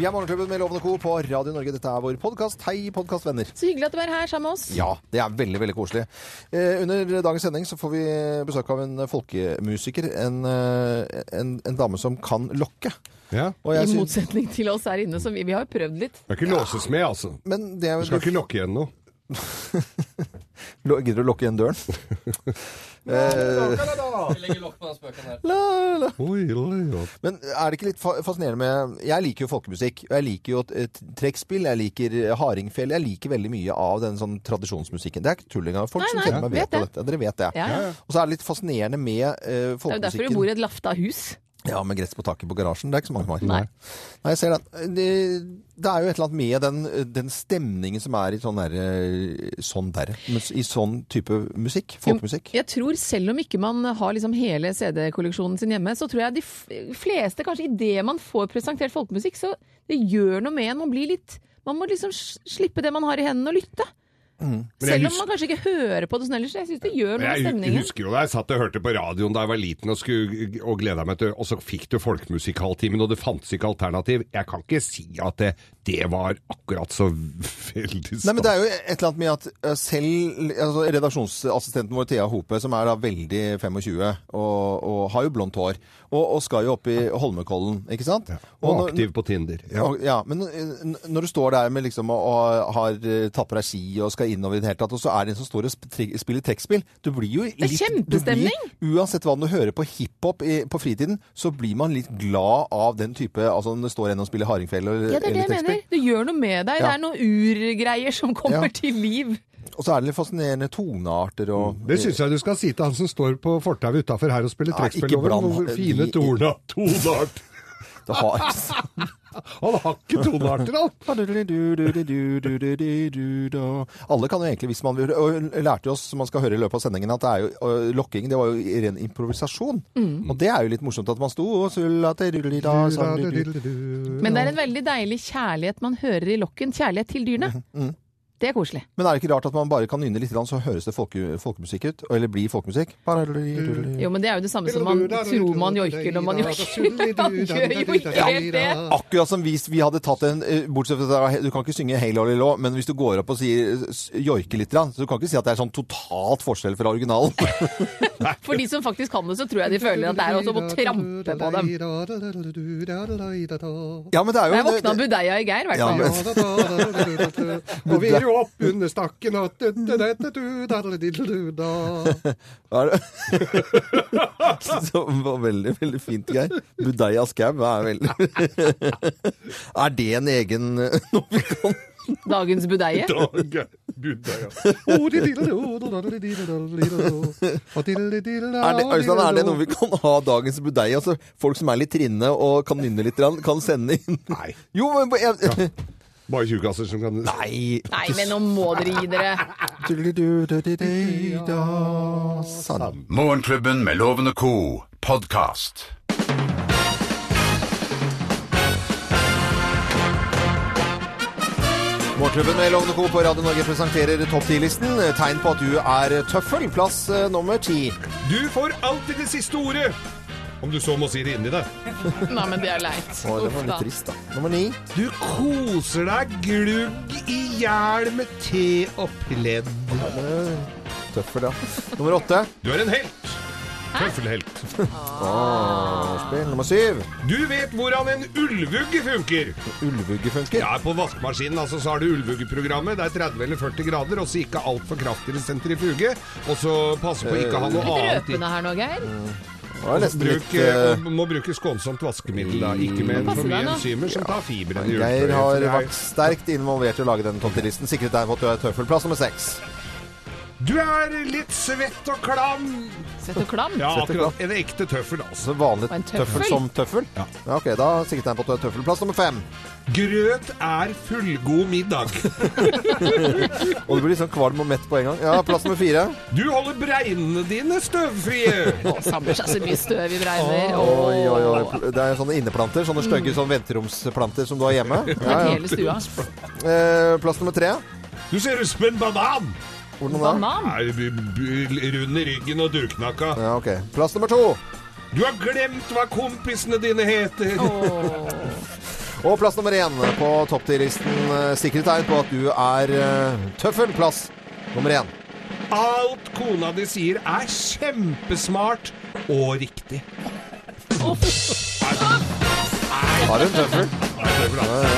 Vi er Morgenklubben med Lovende Co. på Radio Norge. Dette er vår podkast. Hei, podkastvenner. Så hyggelig at du er her sammen med oss. Ja, det er veldig, veldig koselig. Eh, under dagens sending så får vi besøk av en folkemusiker. En, eh, en, en dame som kan lokke. Ja. Og I jeg syns- motsetning til oss her inne, som vi, vi har jo prøvd litt. Skal ikke låses med, altså. Men det er Du skal ikke lokke igjen noe. Lo- Gidder du å lokke igjen døren? La, la. Oi, oi, oi. Men er det ikke litt fa- fascinerende med Jeg liker jo folkemusikk. og Jeg liker jo t- t- trekkspill, jeg liker eh, hardingfele. Jeg liker veldig mye av den sånn tradisjonsmusikken. Det er ikke tull engang. Folk Nei, som nei, kjenner meg, vet vet jo det. dette. Dere vet det. Ja, ja. Og så er det litt fascinerende med eh, Det er jo derfor folkemusikken. du bor i et lafta hus. Ja, med gress på taket på garasjen. Det er ikke så mange som har. Nei. Nei, jeg ser den. Det, det er jo et eller annet med den, den stemningen som er i sånn derre sånn der, mus- I sånn type musikk. Folkemusikk. Jeg tror selv om ikke man har liksom hele CD-kolleksjonen sin hjemme, så tror jeg de f- fleste, kanskje idet man får presentert folkemusikk, så det gjør noe med en. Man blir litt Man må liksom s- slippe det man har i hendene og lytte. Mm. jeg Selv om husker- man kanskje ikke hører på det sånn ellers. Jeg syns det gjør noe med Jeg hu- stemningen. husker jo da jeg satt og hørte på radioen da jeg var liten og, skulle- og gleda meg til Og så fikk du folkemusikaltimen, og det fantes ikke alternativ. Jeg kan ikke si at det, det var akkurat så veldig Nei, men Det er jo et eller annet med at eh, selv altså, redaksjonsassistenten vår, Thea Hope, som er da veldig 25 og, og har jo blondt hår, og, og skal jo opp i Holmenkollen, ikke sant? Og når- aktiv på Tinder. Ja. Og- Ja, men eh, n- når du står der med liksom og, og har eh, tatt på deg ski og skal innover i det hele tatt, og så er det en som står og sp tre- spiller trekkspill Du blir jo litt du kjempestemning. Blir, uansett hva du hører på hiphop i- på fritiden, så blir man litt glad av den type Altså når det står en og spiller hardingfele eller, Ja, det er det eller jeg mener. trekkspill. Det gjør noe med deg. Det Ja. er noen urgreier som kommer Ja. til liv. Og så er det litt fascinerende tonearter og Mm, Det syns jeg du skal si til han som står på fortauet utafor her og spiller Nei, ikke trekkspill over. bland- Hvor fine de- torna, tonart det har, Han har ikke tonearter, han! Alle kan jo egentlig, hvis man vil Og lærte jo oss, som man skal høre i løpet av sendingen, at det er jo og lokking det var jo ren improvisasjon. Og det er jo litt morsomt at man sto og sulla til rullida sånn, du- du- Men det er en veldig deilig kjærlighet man hører i lokken. Kjærlighet til dyrene. Mm. Det er koselig. Men er det ikke rart at man bare kan nynne litt, så høres det folke, folkemusikk ut? Eller blir folkemusikk? Jo, men det er jo det samme som man tror Altså, man joiker når man joiker. Man gjør jo ikke helt det. Akkurat som hvis vi hadde tatt en eh, Bortsett fra at du kan ikke synge Hey Lolly Law, men hvis du går opp og sier s- joiker litt, så du kan ikke si at det er sånn totalt forskjell fra originalen. For de som faktisk kan det, så tror jeg de føler at det er også å trampe på dem. Ja, men det er jo Jeg våkna av budeia i Geir, i hvert Ja, fall. men- Og vi er jo opp under stakken og Det Hva er det? Så var veldig, veldig fint, Geir. Budeia Skau er veldig Er det en egen Nå fikk han Dagens budeie. Oh, er det, Øystein, er det noe vi kan ha dagens budeia? Altså, folk som er litt trinne og kan nynne litt, grann, kan sende inn Nei. Jo, men jeg, Bare tjukkaser som kan Nei! Nei, men nå må dere gi dere. Sann. Morgenklubben med Loven og Co. podkast. Morgenklubben med Lovende Co. på Radio Norge presenterer topp 10-listen. Tegn på at du er tøffel. Plass eh, nummer ti. Du får alltid det siste ordet! Om du så må si det inni deg. Nei, men det er leit. Å, det Uff var da. litt trist, da. Nummer ni. Du koser deg glugg i hjel med te og pledd. Tøffel, ja. Nummer åtte. Du er en helt. Tøffelhelt. Spill nummer syv. Du vet hvordan en ulvugge funker. Ulvugge funker. Ja, På vaskemaskinen altså, så har du ulvuggeprogrammet. Det er 30 eller 40 grader, og så ikke altfor kraftig sentrifuge. Og så passe på å ikke ha noe Litt annet i. røpende her nå, Geir. Det var nesten Bruk, litt eh, eh, må bruke skånsomt vaskemiddel, da. ikke med Passe for deg, mye da. enzymer som tar fiberen Geir i ulvefløyet, så har det er- vært sterkt involvert i å lage denne topp 10-listen. Sikret deg på at du er tøffel. Plass nummer seks. Du er litt svett og klam! Svett og klam. Ja, Svett og akkurat. En ekte tøffel, altså. Så vanlig Og en tøffel. tøffel. som tøffel? Ja. ok, da sikret deg på at du er tøffel. Plass nummer fem. Grøt er fullgod middag. Og du blir litt sånn kvalm og mett på en gang. Ja, Plass nummer fire. Du holder bregnene dine støvfrie! Å, samler seg så mye støv i bregner. Oi, Åh, oi, oi. Det er sånne inneplanter. Sånne stygge sånn venteromsplanter som du har hjemme. Mm. det Ja, er ja. hele stua. Eh, Plass nummer tre. Du ser ut som en banan! Hvordan da? Banan? Er bu- bu- Rund i ryggen og durknakka. Ja, ok. Plass nummer to. Du har glemt hva kompisene dine heter! Og plass nummer én på topp 10-listen. eh, Sikre tegn på at du er eh, tøffel. Plass nummer én. Alt kona di sier er kjempesmart og riktig. Har hun tøffel?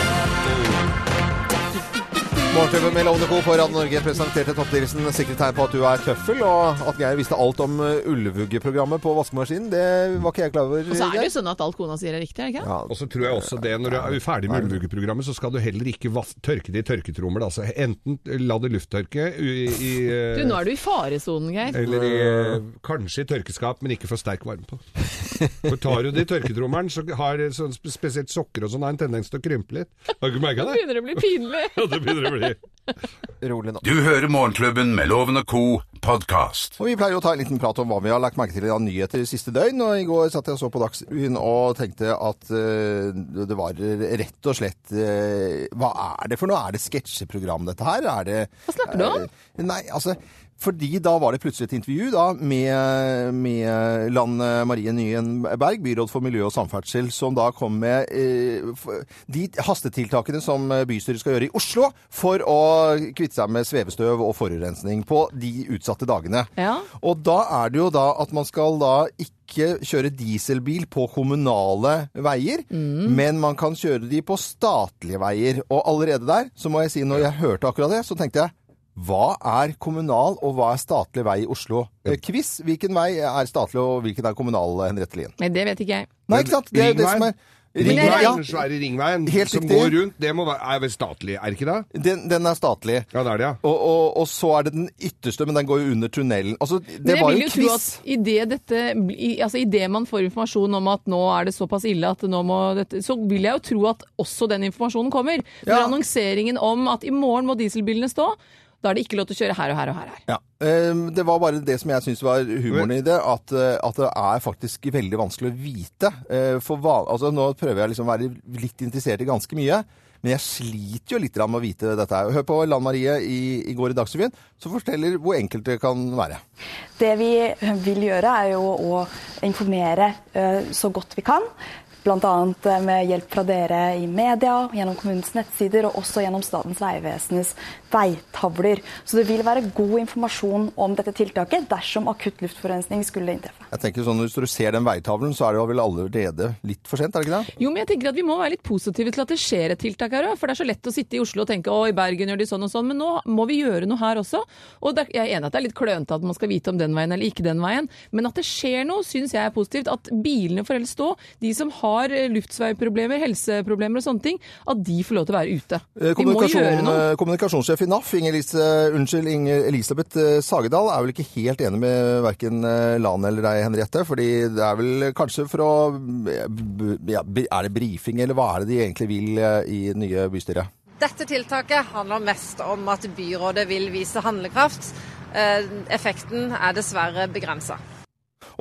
Morgenklubben med Lovende Co. på Radio Norge presenterte toppdrivelsen sikre tegn på at du er tøffel, og at Geir visste alt om eh, Ullvugge-programmet på vaskemaskinen. Det var ikke jeg klar over. Og så er det Geir. jo sånn at alt kona sier er riktig, er det ikke? Ja. Og så tror jeg også det, når du er ferdig med ullvugeprogrammet, så skal du heller ikke vas- tørke det i tørketrommel. Altså enten la det lufttørke i, i eh, Du, nå er du i faresonen, Geir. Eller i, eh, kanskje i tørkeskap, men ikke for sterk varme på. For tar du det i tørketrommelen, så har eh, sånn, spe- spesielt sokker og sånn har en tendens til å krympe litt. Har du ikke merka Nå det? begynner det å bli pinlig. Ja, det begynner å bli. Rolig nå. Du hører Morgenklubben med Loven og Co. podkast. Og Vi pleier å ta en liten prat om hva vi har lagt merke til av nyheter i siste døgn. og I går satt jeg og så på Dagsrevyen og tenkte at eh, det var rett og slett eh, Hva er det for noe? Er det sketsjeprogram, dette her? Er det, Hva snakker du om? Eh, nei, altså, fordi da var det plutselig et intervju da, med, med Land Marie Nyen Berg, byråd for miljø og samferdsel, som da kom med eh, f- de hastetiltakene som bystyret skal gjøre i Oslo for å kvitte seg med svevestøv og forurensning på de utsatte dagene. Ja. Og da er det jo da at man skal da ikke kjøre dieselbil på kommunale veier, Mm. men man kan kjøre de på statlige veier. Og allerede der, så må jeg si, når jeg hørte akkurat det, så tenkte jeg hva er kommunal og hva er statlig vei i Oslo? Eh, Quiz. Hvilken vei er statlig og hvilken er kommunal, eh, Henriette Lien? Nei, det vet ikke jeg. Nei, ikke sant? Det er jo det Ringveien? som er Ringveien, Ringveien, Den svære ringveien Helt som riktig. går rundt, det må være, er vel statlig, er det ikke det? ja. Den, den er statlig. Ja, det er det, ja. Og, og, og så er det den ytterste, men den går jo under tunnelen. Altså, Men det jeg var vil jo jo en tro quiz. at i det, dette, i, altså i det man får informasjon om at nå er det såpass ille at nå må dette, så vil jeg jo tro at også den informasjonen kommer. Når Ja. annonseringen om at i morgen må dieselbilene stå, da er det ikke lov til å kjøre her og her og her. her. Ja. ehm, Det var bare det som jeg syns var humoren i det, at, eh, at det er faktisk veldig vanskelig å vite. Eh, For hva, altså nå prøver jeg liksom å være litt interessert i ganske mye, men jeg sliter jo litt grann med å vite dette. her. Hør på Lan Marie i, i går i Dagsrevyen, som forteller hvor enkelt det kan være. Det vi eh, vil gjøre er jo å informere eh, så godt vi kan. Bl.a. med hjelp fra dere i media, gjennom kommunens nettsider og også gjennom Statens vegvesenes veitavler. Så det vil være god informasjon om dette tiltaket dersom akutt luftforurensning skulle inntreffe. Jeg tenker sånn, Hvis du ser den veitavlen, så er det vel allerede litt for sent, er det ikke det? Jo, men jeg tenker at vi må være litt positive til at det skjer et tiltak her òg. For det er så lett å sitte i Oslo og tenke å, i Bergen gjør de sånn og sånn. Men nå må vi gjøre noe her også. Og det, er- jeg er enig at det er litt klønete at man skal vite om den veien eller ikke den veien. Men at det skjer noe, syns jeg er positivt. At bilene får helst stå. De som har eh, luftsveiproblemer, helseproblemer og sånne ting, at de får lov til å være ute. Eh, Vi må gjøre kommunikasjon- noe. eh, Kommunikasjonssjef i NAF, Inger Lise, unnskyld, Inger Elisabeth eh, Sagedal, er vel ikke helt enig med verken Lan eller deg, Henriette. fordi det er vel kanskje for å eh, b- ja, b- Er det brifing, eller hva er det de egentlig vil eh, i det nye bystyret? Dette tiltaket handler mest om at byrådet vil vise handlekraft. Eh, Effekten er dessverre begrensa.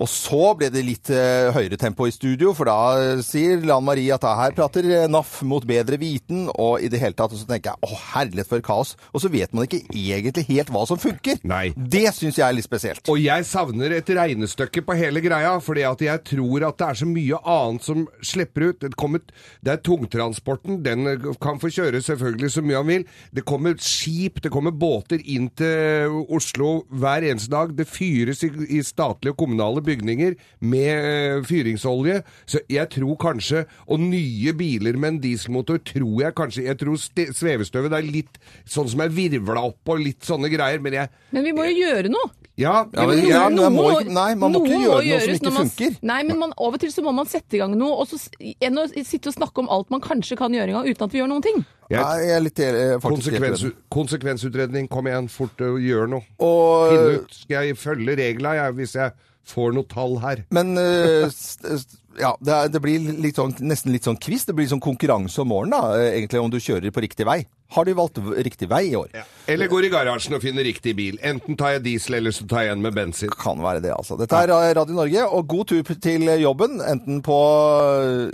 Og så ble det litt eh, høyere tempo i studio, for da eh, sier Lan Marie at da her prater eh, NAF mot bedre viten, og i det hele tatt og så tenker jeg å herlighet for kaos. Og så vet man ikke egentlig helt hva som funker. Nei. Det syns jeg er litt spesielt. Og jeg savner et regnestykke på hele greia, fordi at jeg tror at det er så mye annet som slipper ut. Det, kommer, det er tungtransporten, den eh, kan få kjøre selvfølgelig så mye han vil. Det kommer skip, det kommer båter inn til Oslo hver eneste dag. Det fyres i, i statlige og kommunale bygninger med eh, fyringsolje. Så jeg tror kanskje, og nye biler med en dieselmotor tror jeg kanskje, jeg tror ste- svevestøvet det er litt sånn som er virvla opp og litt sånne greier, men jeg, Men vi må jo gjøre noe. Ja, ja, men- jeg- men jeg må ikke- nei, man må ikke gjøre noe som gjøres ikke når man, funker. Nei, men man, av og til så må man sette i gang noe, og så, s- enn å sitte og snakke om alt man kanskje kan gjøre en gang uten at vi gjør noen ting. Jeg- Nei, jeg er litt, eh, faktisk helt Konsekvens, uenig. konsekvensutredning, kom igjen, fort og gjør noe. Finn Og, ut, skal jeg følge reglene jeg, hvis jeg får noe tall her? men eh, s- s- ja, det, er, det blir litt sånn, nesten litt sånn quiz. Det blir sånn konkurranse om morgenen, da, eh, egentlig, om du kjører på riktig vei. Har du valgt v- riktig vei i år? Eller går i garasjen og finner riktig bil. Enten tar jeg diesel, eller så tar jeg en med bensin. Kan være det, altså. Dette er Radio Norge, eh, og god tur til jobben. Enten på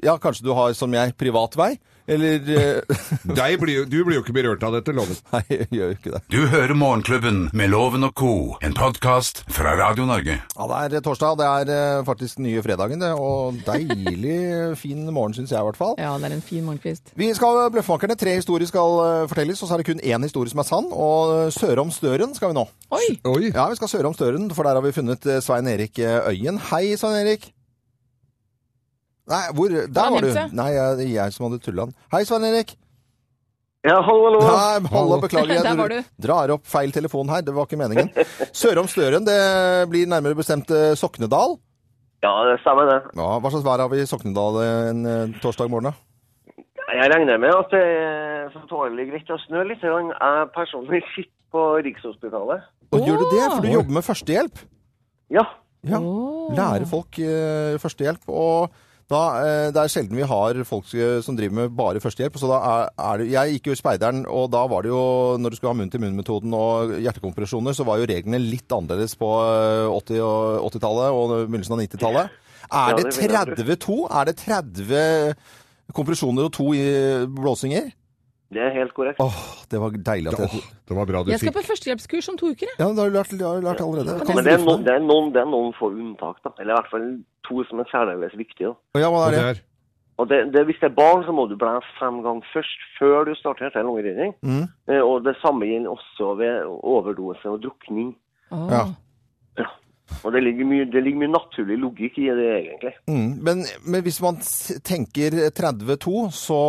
Ja, kanskje du har, som jeg, privat vei. Eller eh, Deg blir, jo- du blir jo ikke berørt av dette, loven. Nei, jeg gjør jo ikke det. Du hører Morgenklubben med Loven og Co., en podkast fra Radio Norge. Ja, Det er torsdag, det er eh, faktisk den nye fredagen, det. Og deilig fin morgen, syns jeg i hvert fall. Ja, det er en fin morgenkvist. Vi skal Bløffmakerne. Tre historier skal eh, fortelles, og så er det kun én historie som er sann. Og eh, søre om Støren skal vi nå. Oi! Oi. Ja, vi skal søre om Støren, for der har vi funnet eh, Svein Erik eh, Øyen. Hei, Svein Erik. Nei, hvor Der han var du. gjemt seg? Nei, jeg, det er jeg som hadde tulla han. Hei, Svein Erik. Ja, hallo, hallo. Nei, hallo, beklager. Jeg Der var dro- du. drar opp feil telefon her. Det var ikke meningen. Søre om Støren, det blir nærmere bestemt eh, Soknedal. Ja, det stemmer det. Ja, Hva slags vær har vi i Soknedal eh, en eh, torsdag morgen, da? Jeg regner med at det eh, er så tålelig greit å snø litt. grann. Jeg personlig sitter på Rikshospitalet. Og gjør du det? For du Oi. jobber med førstehjelp. Ja, Ja. Lære folk eh, førstehjelp. Og da, eh, det er sjelden vi har folk eh, som driver med bare førstehjelp. Så da er, er det, jeg gikk jo i speideren, og da var det jo, når du skulle ha munn-til-munn-metoden og hjertekompresjoner, så var jo reglene litt annerledes på eh, 80- og 80-tallet og begynnelsen av 90-tallet. Ja, Er det det vil jeg 32? Er det 30 kompresjoner og to i blåsinger? det er helt korrekt. Åh, det var deilig at jeg Åh, det var bra du Jeg skal fikk. på førstehjelpskurs om to uker, jeg. Ja, det har du lært, det har du lært allerede. Kan Men du det er, lufte noen, det, er noen, det er noen få unntak, da. Eller i hvert fall to som er særdeles viktige. da. Ja, hva er Og det? der. Og det, det, hvis det er barn, så må du blæse fem ganger først, før du starter hele lungeredning. Mm. Eh, Og det samme gjelder også ved overdose og drukning. Åh. Ja. Og det ligger mye, det ligger mye naturlig logikk i det, egentlig. Mm, men, men hvis man s- tenker 32, så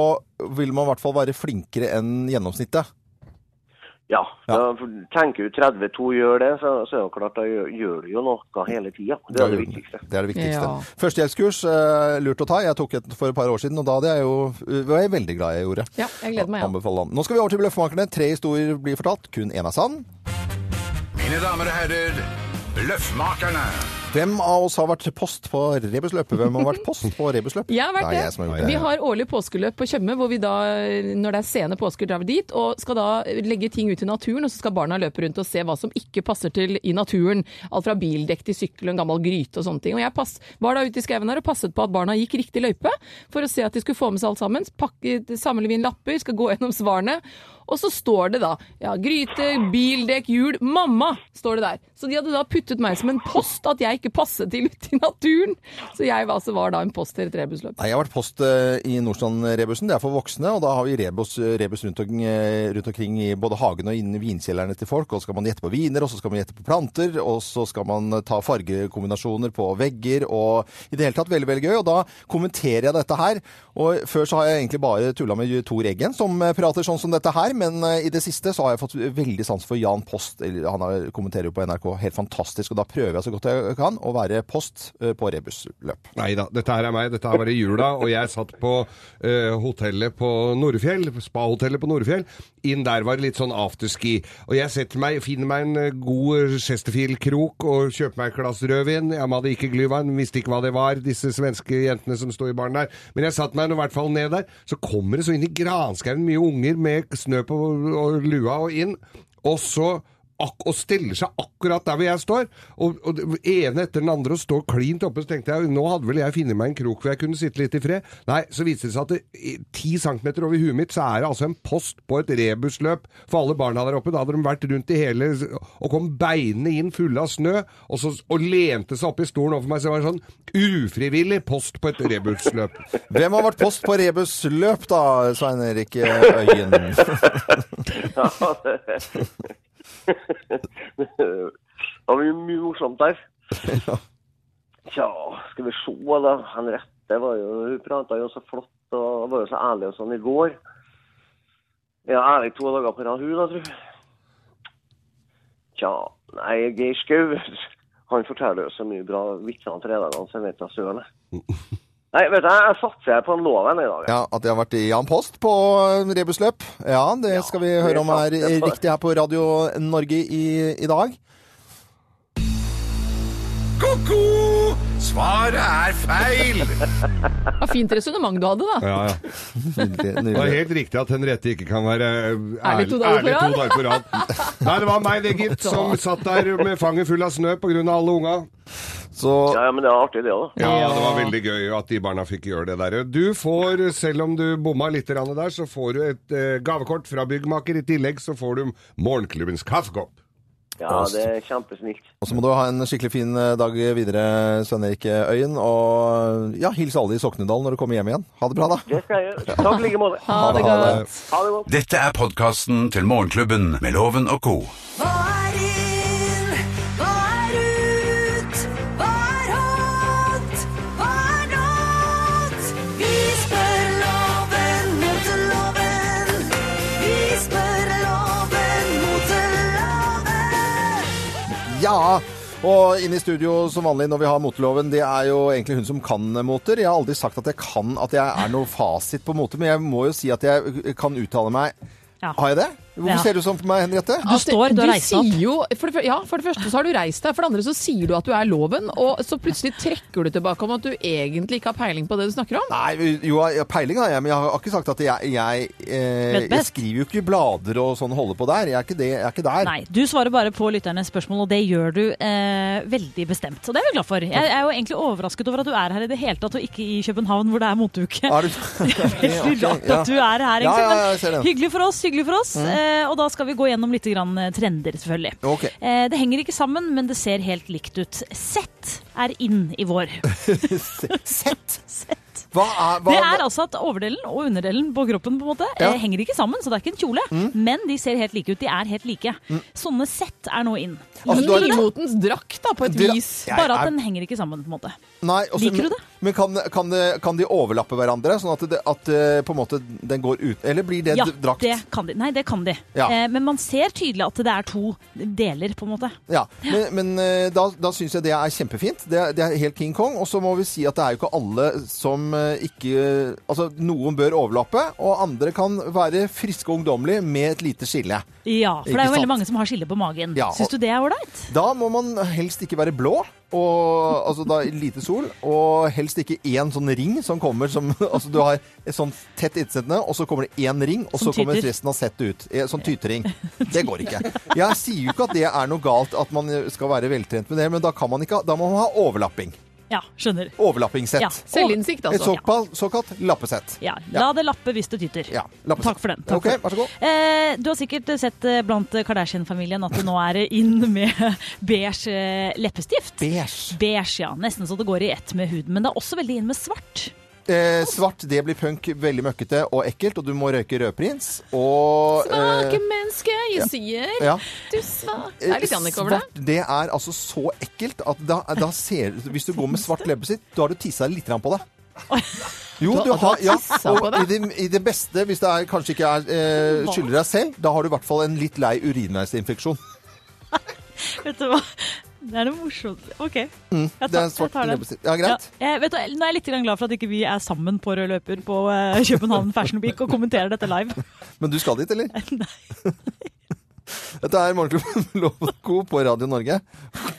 vil man i hvert fall være flinkere enn gjennomsnittet. Ja. Ja. da for- tenker du 32 gjør det, så, så er det jo klart da gjør, gjør du jo noe hele tida. Det er det viktigste. Det er det viktigste. Ja. Førstehjelpskurs, eh, lurt å ta. Jeg tok et for et par år siden, og da hadde jeg jo, eh, var jeg veldig glad jeg gjorde. Ja, jeg gleder meg, ja. Anbefaler han. Nå skal vi over til Bløffmakerne. Tre historier blir fortalt, kun én er sann. Mine damer og herrer, Løffmakerne. Hvem av oss har vært post på rebusløpet? Hvem har vært post på rebusløpet? Jeg har vært det. er Jeg som har gjort det. det. Vi har årlig påskeløp på Tjøme, hvor vi da, når det er sene påsker, drar vi dit og skal da legge ting ut i naturen, og så skal barna løpe rundt og se hva som ikke passer til i naturen. Alt fra bildekk til sykkel og en gammel gryte og sånne ting. Og jeg pass, var da ute i skauen her og passet på at barna gikk riktig løype, for å se at de skulle få med seg alt sammen. Pakke, samler vi inn lapper, skal gå gjennom svarene. Og så står det da ja, gryte, bildekk, hjul, mamma står det der. Så de hadde da puttet meg som en post at jeg ikke passet til ute i naturen. Så jeg altså var da en post i et rebusløp. Nei, jeg har vært post eh, i Nordstrand-rebusen. Det er for voksne, og da har vi rebus, rebus rundt, om- eh, rundt omkring i både hagen og innen vinkjellerne til folk. Og så skal man gjette på viner, og så skal man gjette på planter, og så skal man eh, ta fargekombinasjoner på vegger, og i det hele tatt veldig, veldig gøy. Og da kommenterer jeg dette her. Og før så har jeg egentlig bare tulla med Tor Eggen, som eh, prater sånn som dette her, men eh, i det siste så har jeg fått veldig sans for Jan Post. Eller, Han har- kommenterer jo på NRK helt fantastisk, og da prøver jeg så godt jeg kan å være post eh, på rebusløp. Nei da, dette her er meg. Dette her var i jula, og jeg satt på eh, hotellet på Nordfjell, spahotellet på Nordfjell. Inn der var det litt sånn afterski. Og jeg setter meg, finner meg en eh, god Chesterfield-krok og kjøper meg et glass rødvin. Jeg hadde ikke Glyvan, visste ikke hva det var, disse svenske jentene som sto i baren der. Men jeg satte meg nå i hvert fall ned der. Så kommer det så inn i granskauen mye unger med snø på og lua og inn. Og så ak og stiller seg akkurat der hvor jeg står. Og, og det ene etter den andre og står klint oppe. Så tenkte jeg nå hadde vel jeg funnet meg en krok hvor jeg kunne sitte litt i fred. Nei, så viste det seg at det, i- ti centimeter over huet mitt så er det altså en post på et rebusløp for alle barna der oppe. Da hadde de vært rundt i hele og kom beinene inn fulle av snø og, så, og lente seg opp i stolen overfor meg. Så det var en sånn ufrivillig post på et rebusløp. Hvem har vært post på rebusløp, da, Svein Erik eh, Øyen? Ja, det, det var mye, mye morsomt der. Tja, skal vi se da. Henriette var jo, hun prata jo så flott og var jo så ærlig og sånn i går. Ja, ærlig to dager på rad, hun da, tror jeg. Tja, nei, Geir Skau, han forteller jo så mye bra vitser om fredagene, så jeg vet da søren. jeg. Nei, vet du, jeg satser på en loven i dag. jeg. Ja, At jeg har vært i Jan Post på rebusløp? Ja, det skal vi høre om er det er sant. riktig her på Radio Norge i, i dag. Ko-ko! Svaret er feil! Ja, fint resonnement du hadde, da. Ja, ja. Nydelig, Det var nydelig. helt riktig at Henriette ikke kan være eh, Ærlig to dager på ærlig rad. to dager på rad. Nei, det var meg, det, gitt, som satt der med fanget full av snø pga. alle unga. Så Ja, ja, men det er artig, det òg. Ja, det var veldig gøy at de barna fikk gjøre det der. Du får, selv om du bomma litt grann der, så får du et eh, gavekort fra byggmaker. I tillegg så får du morgenklubbens kaffekopp. Ja, det er kjempesnilt. og så må du ha en skikkelig fin eh, dag videre, Svein-Erik Øyen. Og ja, hils alle i Soknedal når du kommer hjem igjen. Ha det bra, da. Det skal jeg gjøre. Takk i like måte. Ha det godt. Ha det godt. Dette er podkasten til Morgenklubben med Loven og co. Hva er inn? Hva er ut? Hva er hot? Hva er not? Vi spør loven mot loven. Vi spør loven mot loven. Ja, og inne i studio som vanlig når vi har moteloven, det er jo egentlig hun som kan moter. Jeg har aldri sagt at jeg kan, at jeg er noe fasit på mote, men jeg må jo si at jeg kan uttale meg. Ja. Har jeg det? Hvorfor Ja. ser du sånn på meg, Henriette? Du står, du har reist deg opp. Altså, sier Jo, for det, fyr- ja, for det første så har du reist deg, for det andre så sier du at du er loven, og så plutselig trekker du tilbake om at du egentlig ikke har peiling på det du snakker om. Nei, jo, jeg har peiling har jeg, men jeg har ikke sagt at jeg Jeg, eh, Vet jeg best. skriver jo ikke blader og sånn holder på der. Jeg er ikke, det, jeg er ikke der. Nei, du svarer bare på lytternes spørsmål, og det gjør du eh, veldig bestemt. Og det er vi glad for. Jeg er jo egentlig overrasket over at du er her i det hele tatt, og ikke i København hvor det er moteuke. Er du Veldig Ok, rart ja. at du er her, Ja, egentlig. ja, ja, jeg ser men det. hyggelig for oss, hyggelig for oss. Mm. Eh, og da skal vi gå gjennom litt grann eh, trender, selvfølgelig. Ok. Eh, det henger ikke sammen, men det ser helt likt ut. Sett er inn i vår. Sett! Sett. Hva er, hva, Det er altså at overdelen og underdelen på kroppen på en måte Ja. Mm. eh, henger ikke sammen, så det er ikke en kjole. Men de ser helt like ut. De er helt like. Sånne sett er nå inn. Altså, du Liker har- du det? Imotens drakt, da, på et Dra- vis. Jeg Bare er- at den henger ikke sammen, på en måte. Nei, også, Liker du det? Men kan, kan, det- kan de overlappe hverandre, sånn at, det, at eh, på en måte den går ut Eller blir det Ja, d- drakt? det kan de. Nei, det kan de. Ja. Eh, men man ser tydelig at det er to deler, på en måte. Ja, Men, men eh, da, da syns jeg det er kjempefint. Det, er- det er helt King Kong. Og så må vi si at det er jo ikke alle som eh, ikke Altså, noen bør overlappe, og andre kan være friske og ungdommelige med et lite skille. Ja, for Ikke det er jo sant? veldig mange som har skille på magen. Ja, og- Syns du det er ålreit? Da må man helst ikke være blå, og, altså da lite sol, og helst ikke én sånn ring som kommer som Altså du har et sånn tett innsettende, og så kommer det én ring, og Som så kommer tyter. resten av settet ut. Eh, Sånn tytering. Det går ikke. Jeg sier jo ikke at det er noe galt at man skal være veltrent med det, men da kan man ikke ha- Da må man ha overlapping. Ja, skjønner. Overlappingssett. Ja. Selvinnsikt, Et altså. såkalt, såkalt lappesett. Ja, La det lappe hvis det tyter. Ja, lappesett. Takk for den. Takk Ok, for den. vær så god. Eh, du har sikkert sett eh, blant Kardashian-familien at det nå er inn med beige eh, leppestift. Beige. Beige, ja. Nesten så det går i ett med huden. Men det er også veldig inn med svart. Eh, svart, det blir punk, veldig møkkete og ekkelt, og du må røyke rødprins. Og eh, Svake menneske, jeg sier ja. Eh, du svak. Det er litt Jannik over det. Svart, det er altså så ekkelt at da, da ser du Hvis du går med svart leppestift, da har du tissa litt grann på deg. Jo, Du har- du du har har, ja, tisset og på deg? i det, i det beste, hvis det er, kanskje ikke er eh, skylder deg selv, da har du i hvert fall en litt lei urinveisinfeksjon. Vet du hva? Det er det morsomt. OK. Jeg, tar, Mm, Det er svart leppestift. Ja, greit. Ja, jeg, vet du, nå er jeg litt grann glad for at ikke vi er sammen på rød løper på eh, København Fashion Week og kommenterer dette live. Men du skal dit, eller? Nei. Dette er Morgenklubben med Lov og Co. på Radio Norge.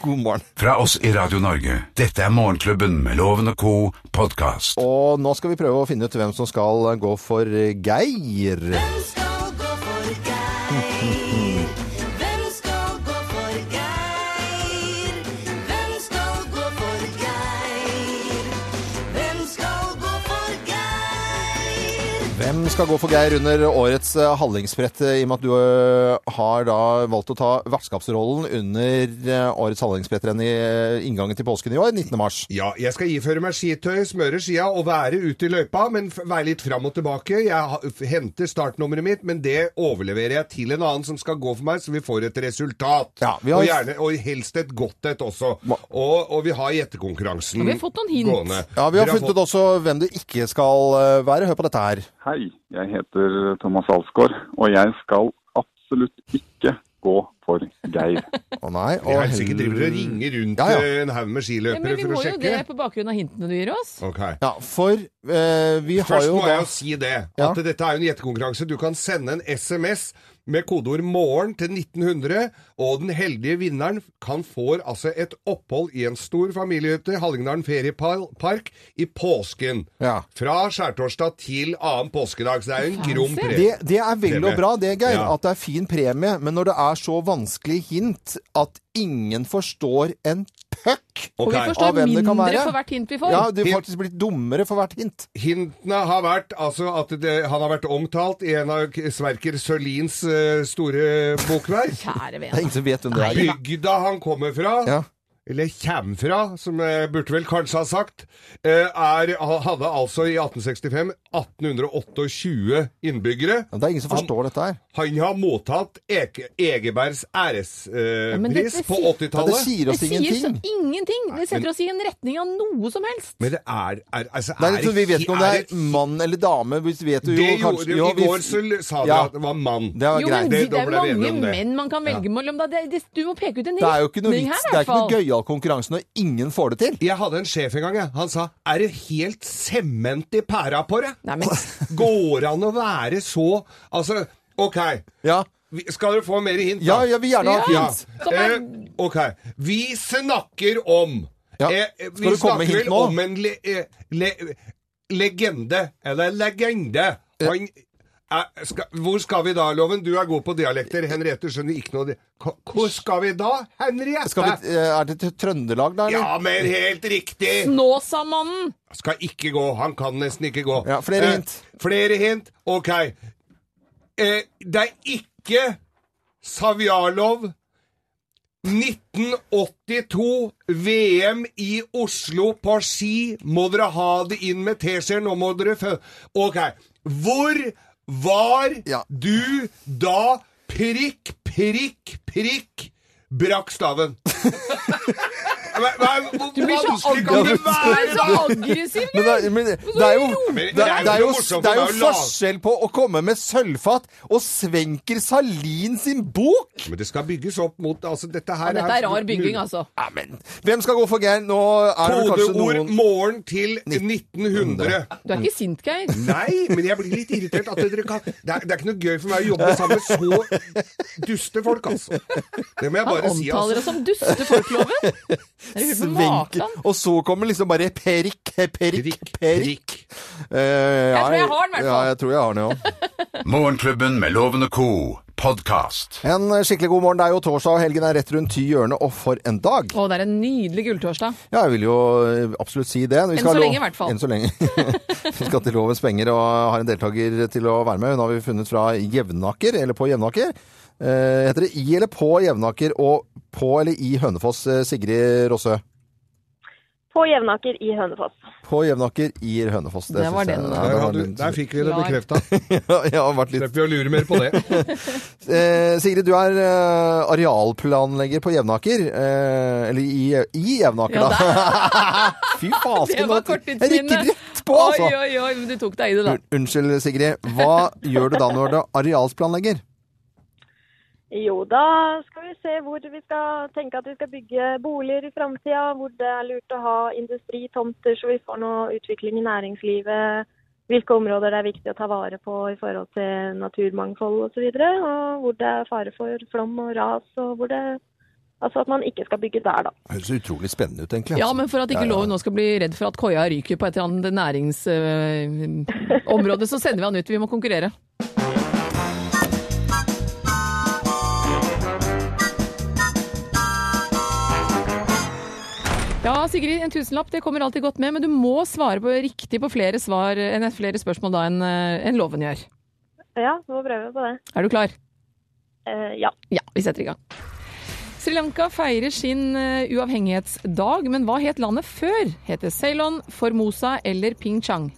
God morgen. Fra oss i Radio Norge. Dette er Morgenklubben med Loven og co. podkast. Og nå skal vi prøve å finne ut hvem som skal gå for Geir. Hvem skal gå for Geir? Hvem skal gå for Geir? Hvem skal gå for Geir? Hvem skal gå for Geir? Hvem skal gå for Geir under årets eh, hallingsbrett, eh, i og med at du eh, har da valgt å ta vertskapsrollen under eh, årets hallingsbrettrenn i eh, inngangen til påsken i år, 19. mars? Ja, jeg skal iføre meg skitøy, smøre skia og være ute i løypa, men f- være litt fram og tilbake. Jeg ha- f- henter startnummeret mitt, men det overleverer jeg til en annen som skal gå for meg, så vi får et resultat. Ja, vi har- og, gjerne, og helst et godt et også. Og, og vi har gjettekonkurransen Og vi har fått noen hint. gående. Ja, Vi har Dere funnet ut også hvem du ikke skal eh, være. Hør på dette her. Hei, jeg heter Thomas Alsgaard, og jeg skal absolutt ikke gå for Geir. Å nei. Vi og har sikkert driver og ringer rundt Ja, ja. eh, en haug Ja, med men skiløpere vi for må å jo det sjekke. på bakgrunn av hintene du gir oss. Ok. Ja, for eh, vi har Først jo må da jeg jo si det, at Ja. dette er jo en gjettekonkurranse. Du kan sende en SMS med kodeord 'morgen' til 1900, og den heldige vinneren kan få altså et opphold i en stor familiehytte, Hallingdalen feriepark, i påsken. Ja. Fra skjærtorsdag til annen påskedag. Så det er jo en grom Fancy. premie. Det, det er vel og bra, det, Geir, Ja. at det er fin premie. Men når det er så vanskelig hint at ingen forstår en p høkk Og vi Ok. av forstår hvem det kan mindre være. for hvert hint vi får. Ja, du er faktisk blitt dummere for hvert hint. Hintene har vært altså at det, han har vært omtalt i en av Sverker Sørlins eh, store bokverk. Kjære Det er vene. ingen som vet hvem det er. Bygda han kommer fra, Ja. eller kjem fra, som jeg burde vel kanskje ha sagt, eh, er, hadde altså i 1865 1828 innbyggere. Ja, Det er ingen som Han- forstår dette her. Han har mottatt Eke, Egebergs Ja, men dette ærespris på sier- Ja, det 80-tallet. sier Det oss sier så ingenting. ingenting! Det setter oss i en retning av noe som helst. Men det er, er altså, Det er litt, sånn, vi vet ikke om det er- er mann eller dame. Vi vet jo, Det gjorde kanskje jo, jo, I vi- går så l- sa dere Ja. at det var mann. Det var Jo, men greit. de, Det- det da er ble vi enige mange om det. menn man kan velge mellom. da. Det, det, du må peke ut en Det er jo ikke noe retning vits. her, Det er ikke noe i hvert fall. gøyal konkurranse når ingen får det til. Jeg hadde en sjef en gang, jeg. Han sa 'er det helt sement i pæra på deg'? Nei, men Går an å være så Altså, OK. Ja, Vi- Skal dere få mer hint? ja da? jeg vil gjerne ha et Ja. hint. Som Eh, er- OK. Vi snakker om Ja. eh, Vi Skal du komme med snakker hint vel nå? om en le, eh, le, legende. Eller legende. Han eh, skal, hvor skal vi da, Loven? Du er god på dialekter. Henriette skjønner ikke noe av det. Hva- Hvor skal vi da, Henriette? Skal vi, eh, er det til Trøndelag, da? Eller? Ja, men helt riktig! Snåsamannen! Skal ikke gå. Han kan nesten ikke gå. Eh, Ja, flere hint. Flere hint. Ok. Eh, det er ikke Savjalov. 1982, VM i Oslo på ski. Må dere ha det inn med teskjeer, nå må dere fø... Ok. Hvor var Ja. du da prikk, prikk, prikk brakk staven? Nei, nei, hvor Du blir så vanskelig kan det aggressiv! Du være, er da? så aggressiv, Men det, er- men det det er jo, det, Men det er jo, morsomt, det er jo for det er jo lag- forskjell på å komme med sølvfat og Svenker Salin sin bok! Men det skal bygges opp mot altså, Dette her Dette er rar bygging, altså. Ja, men Hvem skal gå for Geir? Nå er det vel kanskje Kodeord noen 'morgen til 1900'. Du er ikke sint, Geir. Nei, men jeg blir litt irritert. At dere kan det, er, det er ikke noe gøy for meg å jobbe sammen med så duste folk, altså. Det må jeg Han bare si. omtaler Altså. oss som dustefolkloven. Er det hun Svenker makan? Og så kommer liksom bare Perik, Perik, Prikk, Perik. prikk. Jeg tror jeg har den, i hvert Ja, fall. jeg tror jeg har den òg. Morgenklubben med Loven og Co. Podcast. En skikkelig god morgen. Det er jo torsdag, og helgen er rett rundt i hjørnet. Og for en dag! Å, det er en nydelig gulltorsdag. Ja, jeg vil jo eh, absolutt si det. Vi Enn skal så ha lov- lenge, i hvert fall. Enn så lenge. vi skal til Lovens penger og har en deltaker til å være med. Hun har vi funnet fra Jevnaker, eller på Jevnaker. Eh, heter det I eller på Jevnaker og på eller i Hønefoss, eh, Sigrid Rossø? På Jevnaker i Hønefoss. På Jevnaker i Hønefoss. Det var syns jeg- den. Ja, Der, det var hadde, litt- der fikk vi det Klar. bekrefta. Ja, jeg har vært litt Slipper vi å lure mer på det. eh, Sigrid, du er eh, arealplanlegger på Jevnaker. Eh, eller i, i Jevnaker, Ja, da. Fy Det fasken. var nå- korttidsminne. Jeg gikk rett på, altså. Oi, oi, oi, men du tok deg i det, da. Un- Unnskyld, Sigrid. Hva gjør du da når du er arealsplanlegger? Jo, da skal vi se hvor vi skal tenke at vi skal bygge boliger i framtida. Hvor det er lurt å ha industritomter, så vi får noe utvikling i næringslivet. Hvilke områder det er viktig å ta vare på i forhold til naturmangfold osv. Og, så videre, og hvor det er fare for flom og ras. og hvor det... Altså at man ikke skal bygge der, da. Det høres utrolig spennende ut, egentlig. Ja, men for at ikke loven nå skal bli redd for at koia ryker på et eller annet næringsområde, så sender vi han ut. Vi må konkurrere. Ja, Sigrid, en tusenlapp det kommer alltid godt med, men du må svare på riktig på flere, svar, enn flere spørsmål da enn eh, enn loven gjør. Ja, vi må prøve på det. Er du klar? Eh, ja. Ja, vi setter i gang. Sri Lanka feirer sin eh, uavhengighetsdag, men hva het landet før? Het det Ceylon, Formosa eller Ping Chang?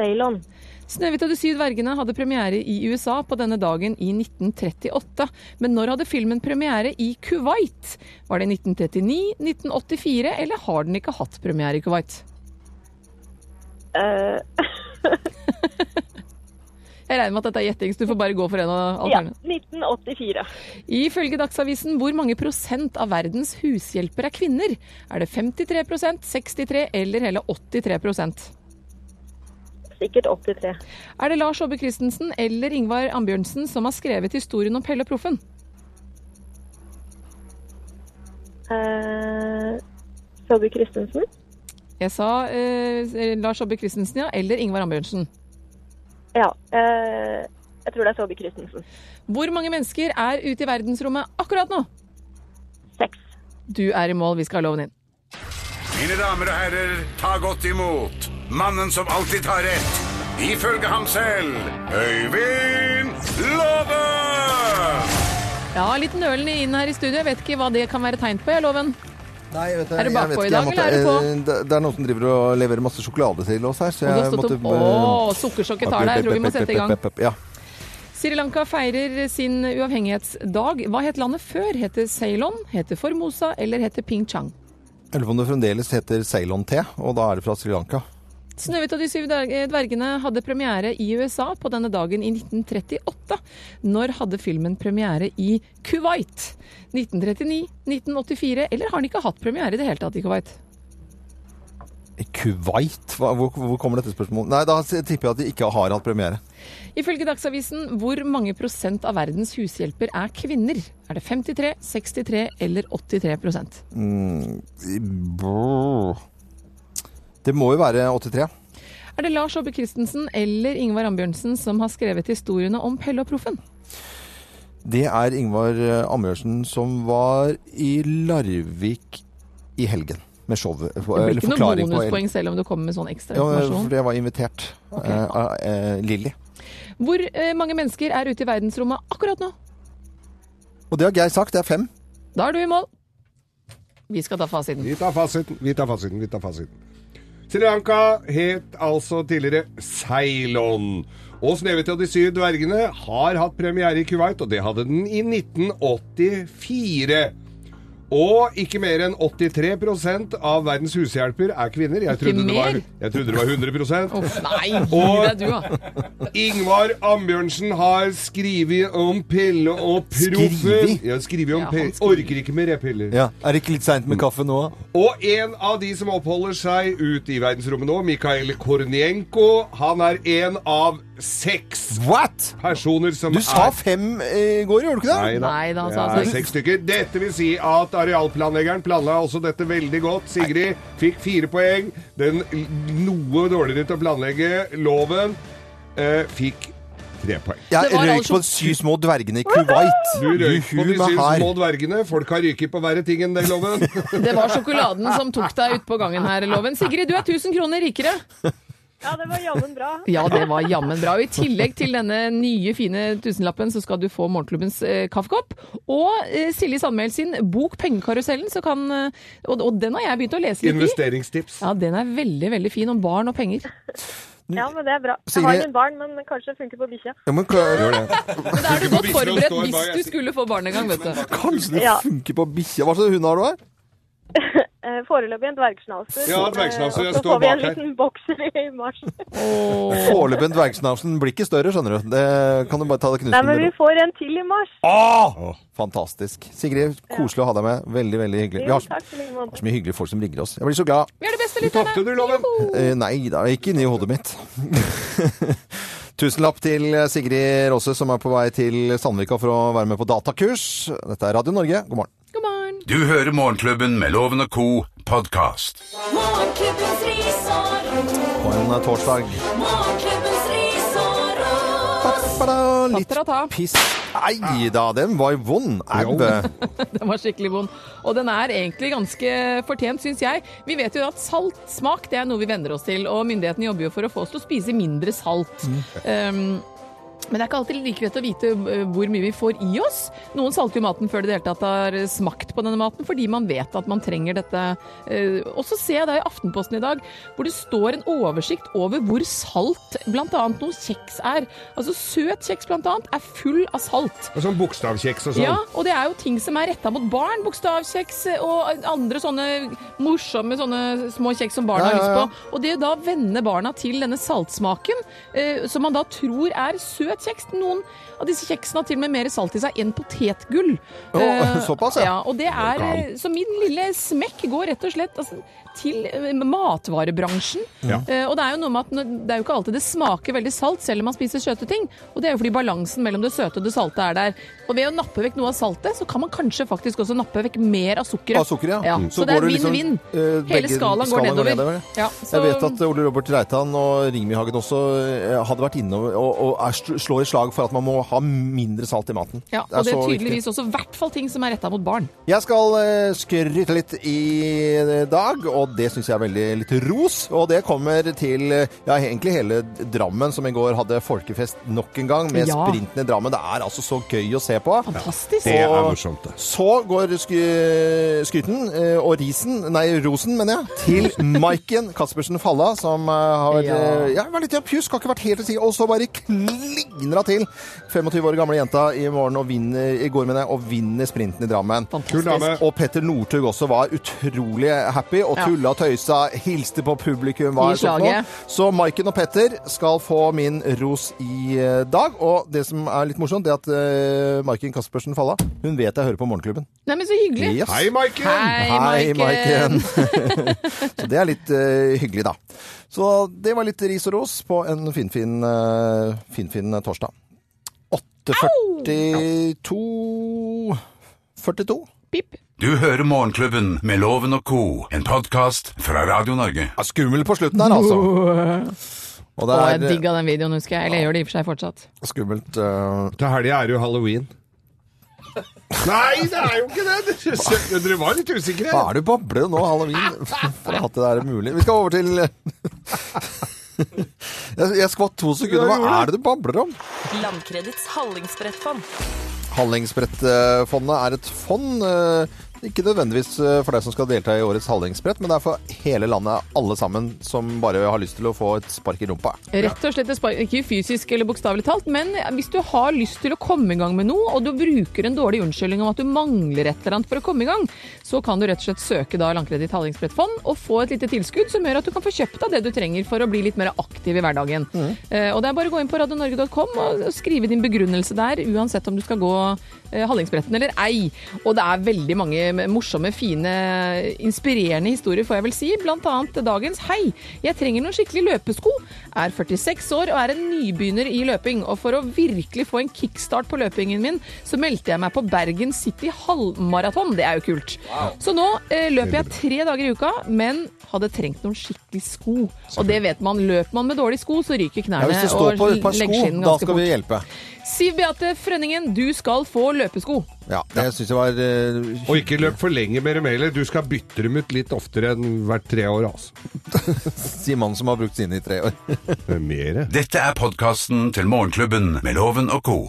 Ceylon. Snøhvit og de syv dvergene hadde premiere i USA på denne dagen i 1938. Men når hadde filmen premiere i Kuwait? Var det i 1939, 1984 eller har den ikke hatt premiere i Kuwait? Eh, Jeg regner med at dette er gjetting, så du får bare gå for en av ja. alternativene. 1984. Ifølge Dagsavisen, hvor mange prosent av verdens hushjelper er kvinner? Er det 53 63 eller hele 83 prosent? Sikkert 83. Er det Lars Aabye Christensen eller Ingvar Ambjørnsen som har skrevet historien om Pelle og Proffen? Eh, Saabye Christensen. Jeg sa eh, Lars Aabye Christensen, ja, eller Ingvar Ambjørnsen. Ja. Eh, jeg tror det er Saabye Christensen. Hvor mange mennesker er ute i verdensrommet akkurat nå? Seks. Du er i mål, vi skal ha loven inn. Mine damer og herrer, ta godt imot mannen som alltid tar rett. Ifølge ham selv Øyvind Låve! Ja, litt nølen inn her i studio. Jeg vet ikke hva det kan være tegn på, jeg, Loven. Nei, vet Er du jeg bakpå i vet ikke, jeg dag, eller er du på? måtte- eh, Det, det er noen som driver og leverer masse sjokolade til oss her, så Og du har jeg stått måtte opp Å, sukkersjokket tar deg. Jeg tror vi må sette i gang. Ja. Sri Lanka feirer sin uavhengighetsdag. Hva het landet før? Heter Ceylon, heter Formosa eller heter Ping Chang? Jeg lurer på om det fremdeles heter Ceylon-te, og da er det fra Sri Lanka. Snøhvit og de syv dverg- eh, dvergene hadde premiere i USA på denne dagen i 1938. Når hadde filmen premiere i Kuwait? 1939, 1984, eller har den ikke hatt premiere i det hele tatt i Kuwait? Kuwait? Hva, hvor, hvor kommer dette spørsmålet? Nei, da tipper jeg at de ikke har hatt premiere. Ifølge Dagsavisen, hvor mange prosent av verdens hushjelper er kvinner? Er det 53, 63 eller 83 prosent? Mm, brr. det må jo være 83. Er det Lars Åbe Christensen eller Ingvar Ambjørnsen som har skrevet historiene om Pelle og Proffen? Det er Ingvar eh, Ambjørnsen som var i Larvik i helgen med showet. eh, Det Det blir ikke noe bonuspoeng selv om du kommer med sånn ekstra Ja, informasjon. for jeg var invitert eh, av eh, Lilly. Hvor eh, mange mennesker er ute i verdensrommet akkurat nå? Og det har Geir sagt, det er fem. Da er du i mål. Vi skal ta fasiten. Vi tar fasiten, vi tar fasiten, vi tar fasiten. Sri Lanka het altså tidligere Ceylon. Og Snøhvit og de syv dvergene har hatt premiere i Kuwait, og det hadde den i 1984. Og ikke mer enn 83 av verdens hushjelper er kvinner. Jeg trodde, det var, mer? jeg trodde det var 100 Uff, nei, gi deg Og- du, da. Ingvar Ambjørnsen har skrevet om Pelle og Proffen. Skrivi? Ja, skrevet Ja, om han Pelle. skriver. Orker ikke mer, jeg, Piller. Ja. Er det ikke litt seint med kaffe nå? Og en av de som oppholder seg ute i verdensrommet nå, Mikhail Kornienko, han er en av seks What?! personer som Du sa er fem eh, i går, gjorde du ikke det? Nei da, altså. det sa er han. seks stykker. Dette vil si at arealplanleggeren planla også dette veldig godt. Sigrid fikk fire poeng. Den l- noe dårligere til å planlegge loven eh, fikk tre poeng. Det Jeg var røyk altså- på de syv små dvergene i Kuwait. Du røyk på Juhu, de meg syv her. små dvergene. Folk har ryket på verre ting enn det, loven. Det var sjokoladen som tok deg utpå gangen her, Loven. Sigrid, du er 1000 kroner rikere. Ja, det var jammen bra. Ja, det var jammen bra. Og I tillegg til denne nye, fine tusenlappen, så skal du få Morgenklubbens eh, kaffekopp. Og eh, Silje Sandmæl sin bok 'Pengekarusellen', så kan eh, og, og den har jeg begynt å lese litt i. Investeringstips. Ja, den er veldig, veldig fin om barn og penger. Ja, men det er bra. Jeg Sigrid- har ingen barn, men kanskje det funker på bikkja. Ja, men hva- Men da er du Funker på godt bikkja, det forberedt står hvis bare- du skulle få barn en gang, vet du. Kanskje det Ja. funker på bikkja. Hva slags hund har du her? Eh, Foreløpig en dvergsnauser. Ja, dvergsnauser, jeg Eh, og så står får vi en bak her. liten bokser i mars. Foreløpig en dvergsnausen. Blir ikke større, skjønner du. Det kan du bare ta det Nei, men knusende vi med ro. får en til i mars. Ah! Åh, Fantastisk. Sigrid, koselig å ha deg med. Veldig, veldig hyggelig. Vi Jo, har så, takk i like måte. så mye hyggelige folk som ringer oss. Jeg blir så glad. Vi er det beste Du tapte, du, loven. Eh, nei da, ikke inni hodet mitt. Tusenlapp til Sigrid Råse, som er på vei til Sandvika for å være med på datakurs. Dette er Radio Norge, god morgen. God morgen. Du hører Morgenklubben med Loven og Co. podkast. Morgenklubbens risår, På en eh, torsdag. morgenklubbens risår og Ba-da, Litt Tatarata. piss. Nei da, den var jo vond. Au. Den var skikkelig vond. Og den er egentlig ganske fortjent, syns jeg. Vi vet jo at salt smak det er noe vi venner oss til, og myndighetene jobber jo for å få oss til å spise mindre salt. Um, men det er ikke alltid like lett å vite eh, hvor mye vi får i oss. Noen salter jo maten før de i det hele tatt har smakt på denne maten, fordi man vet at man trenger dette. Eh, Og så ser jeg det i Aftenposten i dag, hvor det står en oversikt over hvor salt bl.a. noe kjeks er. Altså søt kjeks bl.a. er full av salt. Og Sånn bokstavkjeks og sånn. Ja, og det er jo ting som er retta mot barn. Bokstavkjeks eh, og andre sånne morsomme sånne små kjeks som barn Ja, har ja, ja. lyst på. Og det da vender barna til denne saltsmaken, eh, som man da tror er søt kjeks. Noen av disse kjeksene har til og med mer salt i seg enn potetgull. Å, Eh, såpass, ja. Og det er eh, Så min lille smekk går rett og slett altså, til eh, matvarebransjen. Ja. Eh, og det er jo noe med at når- det er jo ikke alltid det smaker veldig salt selv om man spiser søte ting. Og det er jo fordi balansen mellom det søte og det salte er der. Og ved å nappe vekk noe av saltet, så kan man kanskje faktisk også nappe vekk mer av sukkeret. Av sukkeret, ja. Mm. Så, Så det er går det liksom, vinn-vinn. eh, Hele begge skalaen går skalaen går nedover. nedover, Ja, Jeg vet at Ole Robert Reitan og Ringmy Hagen også eh, hadde vært innom og, og er stru- sl- slå et slag for at man må ha mindre salt i maten. Ja, og det er så viktig. tydeligvis også i hvert fall ting som er retta mot barn. Jeg skal eh, skryte litt i dag, og det syns jeg er veldig litt ros. Og det kommer til eh, ja, egentlig hele Drammen, som i går hadde folkefest nok en gang, med Ja. sprinten i Drammen. Det er altså så gøy å se på. Fantastisk. Det er morsomt, det. Så går sky skryten eh, og risen, nei, rosen, mener jeg, til Maiken Caspersen Falla, som eh, har Ja. eh, ja, vært litt i en pjusk, har ikke vært helt til side, og så bare kliner hun til. 25 år gamle jenta i morgen og vinner, i går, mener jeg, og vinner sprinten i Drammen. Kul dame. Og Petter Northug også var utrolig happy og Ja. tulla og tøysa, hilste på publikum. I Var sånn slaget. noe. Så Maiken og Petter skal få min ros i eh, dag. Og det som er litt morsomt, det er at eh, Maiken Caspersen Falla hun vet jeg hører på Morgenklubben. Nei, men så hyggelig. Yes. Hei, Maiken! Hei, Maiken. så det er litt eh, hyggelig, da. Så det var litt ris og ros på en finfin uh, fin, fin torsdag. 8.42 42. Pip. Du hører Morgenklubben med Loven og co., en podkast fra Radio Norge. Ja, skummel på slutten her, altså. Og Å, det jeg er eh, digga den videoen, husker jeg. Eller jeg gjør det i og for seg fortsatt. skummelt eh, Til helga er det jo halloween. Nei, det er jo ikke det! Dere- Dere var litt usikre. Hva er det du babler nå, halloween? For at det er mulig. Vi skal over til Jeg, jeg skvatt to sekunder. Hva er det du babler om? Landkredits hallingsbrettfond. Hallingsbrettfondet er et fond. eh, Ikke nødvendigvis eh, for deg som skal delta i årets hallingsbrett, men det er for hele landet, alle sammen, som bare har lyst til å få et spark i rumpa. Rett og slett et spark, ikke fysisk eller bokstavelig talt, men hvis du har lyst til å komme i gang med noe, og du bruker en dårlig unnskyldning om at du mangler et eller annet for å komme i gang, så kan du rett og slett søke da Landkreditt Hallingsbrettfond og få et lite tilskudd som gjør at du kan få kjøpt deg det du trenger for å bli litt mer aktiv i hverdagen. Eh, og det er bare å gå inn på radionorge.com og skrive din begrunnelse der, uansett om du skal gå eh, Hallingsbretten eller ei. Og det er veldig mange morsomme, fine, inspirerende historier, får jeg vel si. Blant annet dagens Hei, jeg trenger noen skikkelig løpesko. Er 46 år og er en nybegynner i løping. Og for å virkelig få en kickstart på løpingen min, så meldte jeg meg på Bergen City halvmaraton. Det er jo kult. Så nå eh, løper jeg tre dager i uka, men hadde trengt noen skikkelig sko. Og det vet man. Løper man med dårlige sko, så ryker Ja, knærne hvis det står og på et par sko, leggskinnen da ganske skal vi fort. hjelpe. Siv Beate Frønningen, du skal få løpesko. Ja, det syns jeg var eh, Og ikke løp for lenge med dem heller. Du skal bytte dem ut litt oftere enn hvert tre år, altså. Sier mannen som har brukt sine i tre år. Det er Mere. Dette er podkasten til Morgenklubben med Loven og co.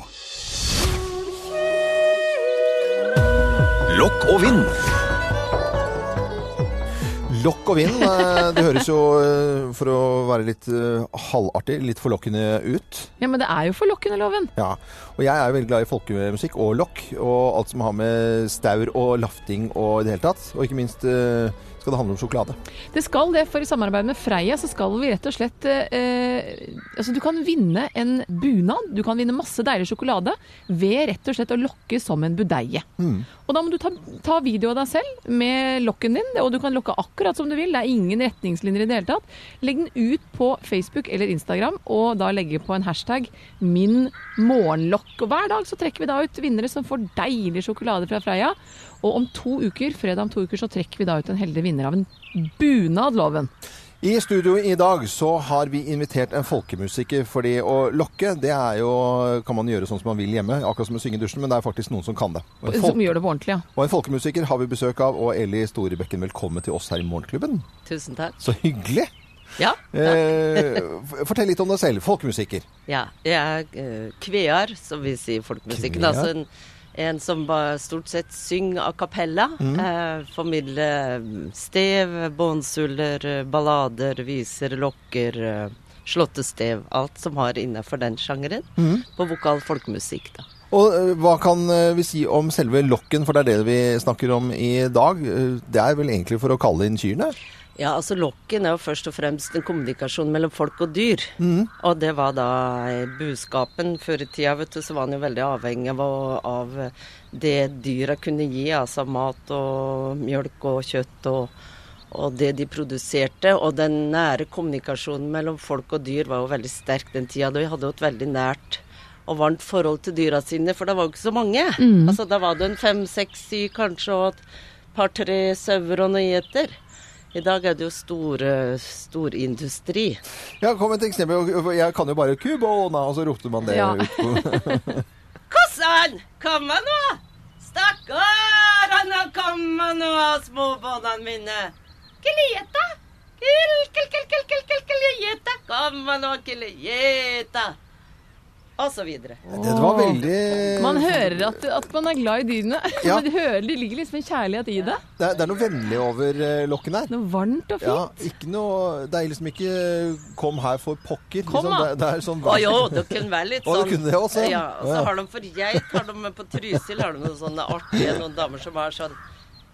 Lokk og vinn. Lokk og vind. eh, Det høres jo, eh, for å være litt eh, halvartig, litt forlokkende ut. Ja, men det er jo forlokkende, loven. Ja, og jeg er jo veldig glad i folkemusikk og lokk, og alt som har med staur og lafting og i det hele tatt. Og ikke minst eh, skal det handle om sjokolade. Det skal det, for i samarbeid med Freia så skal vi rett og slett eh, Altså, du kan vinne en bunad. Du kan vinne masse deilig sjokolade ved rett og slett å lokke som en budeie. Og da må du ta, ta video av deg selv med lokken din, og du kan lokke akkurat som du vil. Det er ingen retningslinjer i det hele tatt. Legg den ut på Facebook eller Instagram, og da legge på en hashtag 'min morgenlokk'. Og hver dag så trekker vi da ut vinnere som får deilig sjokolade fra Freia. Og om to uker, fredag om to uker, så trekker vi da ut en heldig vinner av en bunad, loven. I studio i dag så har vi invitert en folkemusiker, fordi å lokke, det er jo kan man gjøre sånn som man vil hjemme, akkurat som å synge i dusjen, men det er faktisk noen som kan det. Og en, Som folk, gjør det på ordentlig, ja. og en folkemusiker har vi besøk av, og Eli Storebekken, velkommen til oss her i Morgenklubben. Tusen takk. Så hyggelig! Ja, Eh, f- fortell litt om deg selv. Folkemusiker. ja jeg er eh, kvear, som vi sier i folkemusikken. Kvear. Altså en, en som bare stort sett synger a cappella. Mm. Eh, formidler mm, stev, bånsuller, eh, ballader, viser, lokker, eh, slåttestev. Alt som har innafor den sjangeren. Mhm. På vokal folkemusikk, da. Og eh, hva kan eh, vi si om selve lokken, for det er det vi snakker om i dag. Eh, Det er vel egentlig for å kalle inn kyrne? Ja, altså Lokken er jo først og fremst en kommunikasjon mellom folk og dyr. Og det var da buskapen før i tida, vet du, så var han jo veldig avhengig av, å- av det dyra kunne gi, altså mat og mjølk og kjøtt og, og det de produserte. Og den nære kommunikasjonen mellom folk og dyr var jo veldig sterk den tida. De hadde jo et veldig nært og varmt forhold til dyra sine, for det var jo ikke så mange. Mm. Altså, da var det en fem, seks, syv kanskje, og et par-tre sauer og noen gjeter. I dag er det jo stor, eh, storindustri. Ja, kom et eksempel. Jeg kan jo bare Kubona, og så ropte man det Ja. ut. Kossan, kom nå! Stakkarene, kom nå, småbåndene mine. Kilieta. Kil, kil, kil, kil, kil, kil, kilieta. Kom nå, kilieta. Og så videre. Det var veldig Man hører at, at man er glad i dyrene. Ja. Men de hører, det ligger liksom en kjærlighet i det. Det er, det er noe vennlig over eh, lokken her. Noe varmt og fint. Ja, ikke noe, det er liksom ikke 'kom her for pokker'. Kom, liksom. da. Det, det er sånn Å jo, det kunne være litt Å, sånn. det kunne det også, ja. Ja, og så Ja. har de for geit, har de på Trysil har de noen sånne artige noen damer som er sånn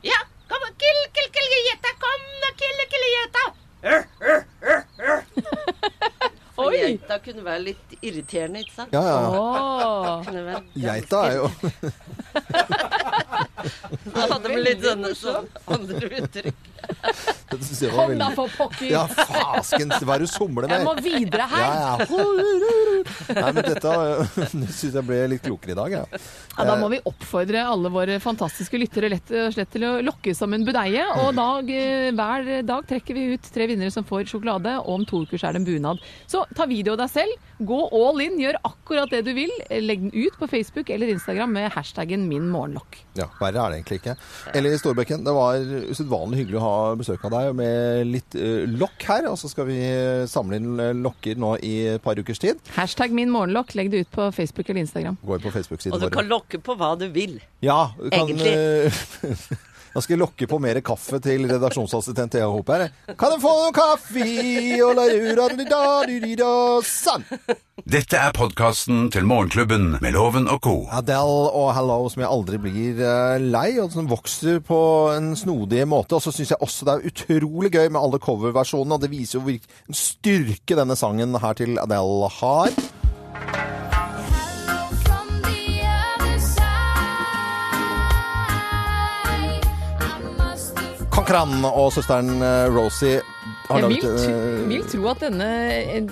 Ja, kom og kill, kill, kill, gjeta, kom nå, kill, kill, gjeta. For Oi. geita kunne være litt irriterende, ikke sant? Ja, ja, ja. Kunne være Geita er jo Da hadde vi litt sånne, sånne andre uttrykk. Dette synes jeg var Kom da, veldig- for pokker. Ja, fasken, hva er det du somler med? Jeg må videre her. Ja, ja. Nei, men dette eh, synes jeg ble litt klokere i dag, jeg. Ja, da må vi oppfordre alle våre fantastiske lyttere lett og slett til å lokke som en budeie. Og dag, eh, hver dag trekker vi ut tre vinnere som får sjokolade, og om to uker så er det en bunad. Så ta video av deg selv, gå all in, gjør akkurat det du vil. Legg den ut på Facebook eller Instagram med hashtaggen min morgenlokk. Ja, verre er det egentlig ikke. Eli Storbekken, det var usedvanlig hyggelig å ha besøk av deg med litt eh, lokk her. Og så skal vi eh, samle inn eh, lokker nå i et par ukers tid. Hashtag min morgenlokk, legg det ut på Facebook eller Instagram. Går på Facebook-siden Og du kan lokke på hva du vil. Ja, du kan, Egentlig. eh, Da skal jeg lokke på mer kaffe til redaksjonsassistent Thea Hope her. Kan jeg få noe kaffe? Og la rura di da di di da Sånn! Sann! Dette er podkasten til Morgenklubben med Loven og co. Adele og Hello, som jeg aldri blir eh, lei, og som vokser på en snodig måte. Og så syns jeg også det er utrolig gøy med alle coverversjonene, og det viser jo hvilken styrke denne sangen her til Adele har. Conkran og søsteren eh, Rosie har Jeg vil, laget tro- eh, vil tro at denne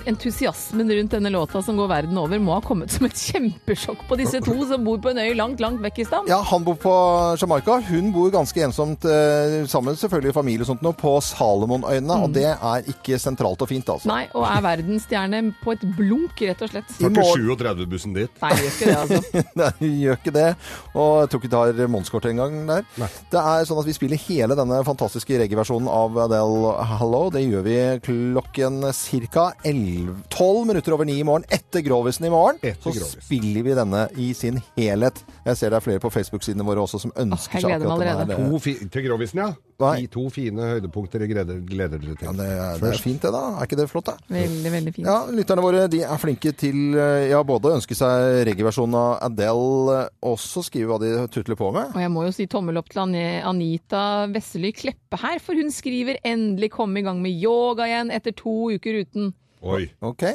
entusiasmen rundt denne låta som går verden over, må ha kommet som et kjempesjokk på disse to som bor på en øy langt, langt vekk i stand. Ja, han bor på Jamaica. Hun bor ganske ensomt eh, sammen, selvfølgelig familie og sånt nå, på Salomonøyene, og det er ikke sentralt og fint, altså. Nei, og er verdensstjerne på et blunk, rett og slett. I morgen- 37-bussen dit. Nei, det gjør ikke det, altså. Nei, vi gjør ikke det. Og jeg tror ikke det har månedskortet engang der. Det er sånn at vi spiller hele denne fantastiske reggae-versjonen av Adele Hello. Det gjør vi klokken ca. 12 minutter over 9 i morgen. Etter Grovisen i morgen. så Grovisen. spiller vi denne i sin helhet. Jeg ser det er flere på Facebook-sidene våre også som ønsker Jeg seg gleder meg akkurat allerede. denne her, To fi til Grovisen, ja. De to fine høydepunkter jeg gleder, gleder dere til. Ja, det, det er fint det, da. Er ikke det flott, da? Veldig, veldig fint. Ja, lytterne våre de er flinke til eh, ja, både å ønske seg reggae-versjonen av Adele, eh, også skrive hva de tutler på med. Og jeg må jo si tommel opp til Anje- Anita Vessely Kleppe her, for hun skriver 'endelig komme i gang med yoga igjen etter to uker uten'. Oi.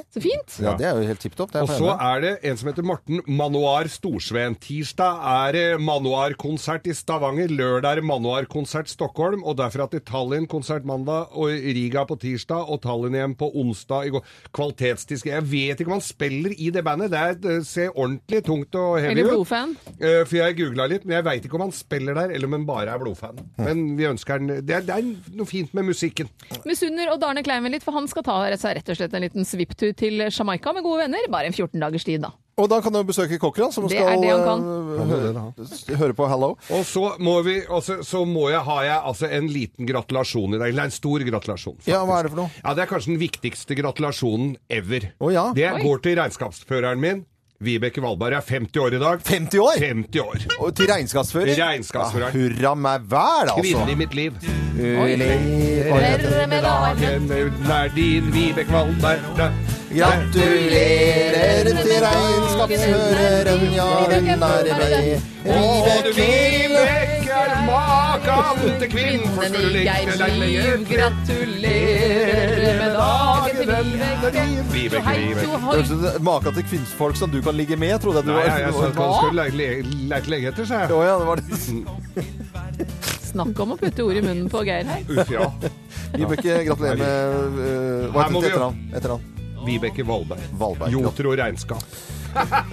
Så fint! Ja, det er jo helt tipp topp. Og så er det en som heter Morten Manoar Storsveen. Tirsdag er det Manoar-konsert i Stavanger, lørdag er det Manoar-konsert Stockholm, og derfra til Tallinn-konsert mandag, og Riga på tirsdag, og Tallinn igjen på onsdag i går. Kvalitetsdisk. Jeg vet ikke om han spiller i det bandet, det er, det ser ordentlig tungt og heavy Eller ut. blodfan. Eh, For jeg googla litt, men jeg veit ikke om han spiller der, eller om han bare er blodfan. Hm. Men vi ønsker han det, er- det er noe fint med musikken. Misunner og Darne Kleiven litt, for han skal ta seg rett og slett en liten svipptur til Jamaica med gode venner. Bare en 14 dagers tid, da. Og da kan du besøke Cochran, som Det er skal det han eh, kan. Han må det, da. hø- høre på Hello. Og så må, vi, og så- så må jeg, har jeg altså en liten gratulasjon i dag. Eller en stor gratulasjon. Ja, hva er det for noe? Ja, Det er kanskje den viktigste gratulasjonen ever. Det Oi. går til regnskapsføreren min. Vibeke Valberg Jeg er 50 år i dag. 50 år? 50 år. Og til regnskapsfører? Ja, Regnskapsfører. hurra meg vel, altså! Kvinnen i mitt liv. Oi. Gratulerer med dagen, er din Vibeke Valberg. Gratulerer til regnskapsføreren, ja, hun er med. Og Vibeke er maken til kvinnen, for skal du legge deg med Gratulerer med dagen til Vibeke. Vibeke, Vibeke. Høres ut som Maka sånn til kvinnfolk som du kan ligge med, trodde jeg du Nei, var. jeg, jeg, jeg, Hva? skulle le- le- lete lenge etter, sa jeg. Å ja, det var det. Snakk om å putte ord i munnen på Geir her. Uff, ja. Vibeke, gratulerer med eh, Hva Her heter må vi- etternavn? Etternavn? Vibeke Valberg. Valberg. Jotro Regnskap.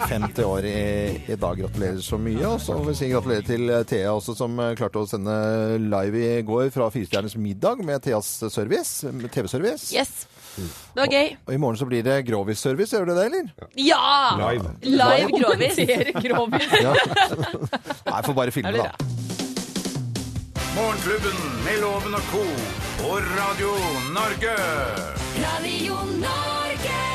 50 år i, i dag. Gratulerer så mye. Og så får vi si gratulerer til Thea også, som eh, klarte å sende live i går fra Firestjerners middag med Theas service. med TV-service. Yes. Det var gøy. Og i morgen så blir det Grovis-service, gjør du det, eller? Ja! Live. Live grovis. Kommentere grovis. Ja. Nei, får bare filme, da. Morgenklubben med Loven og co. på Radio Norge. Radio Norge!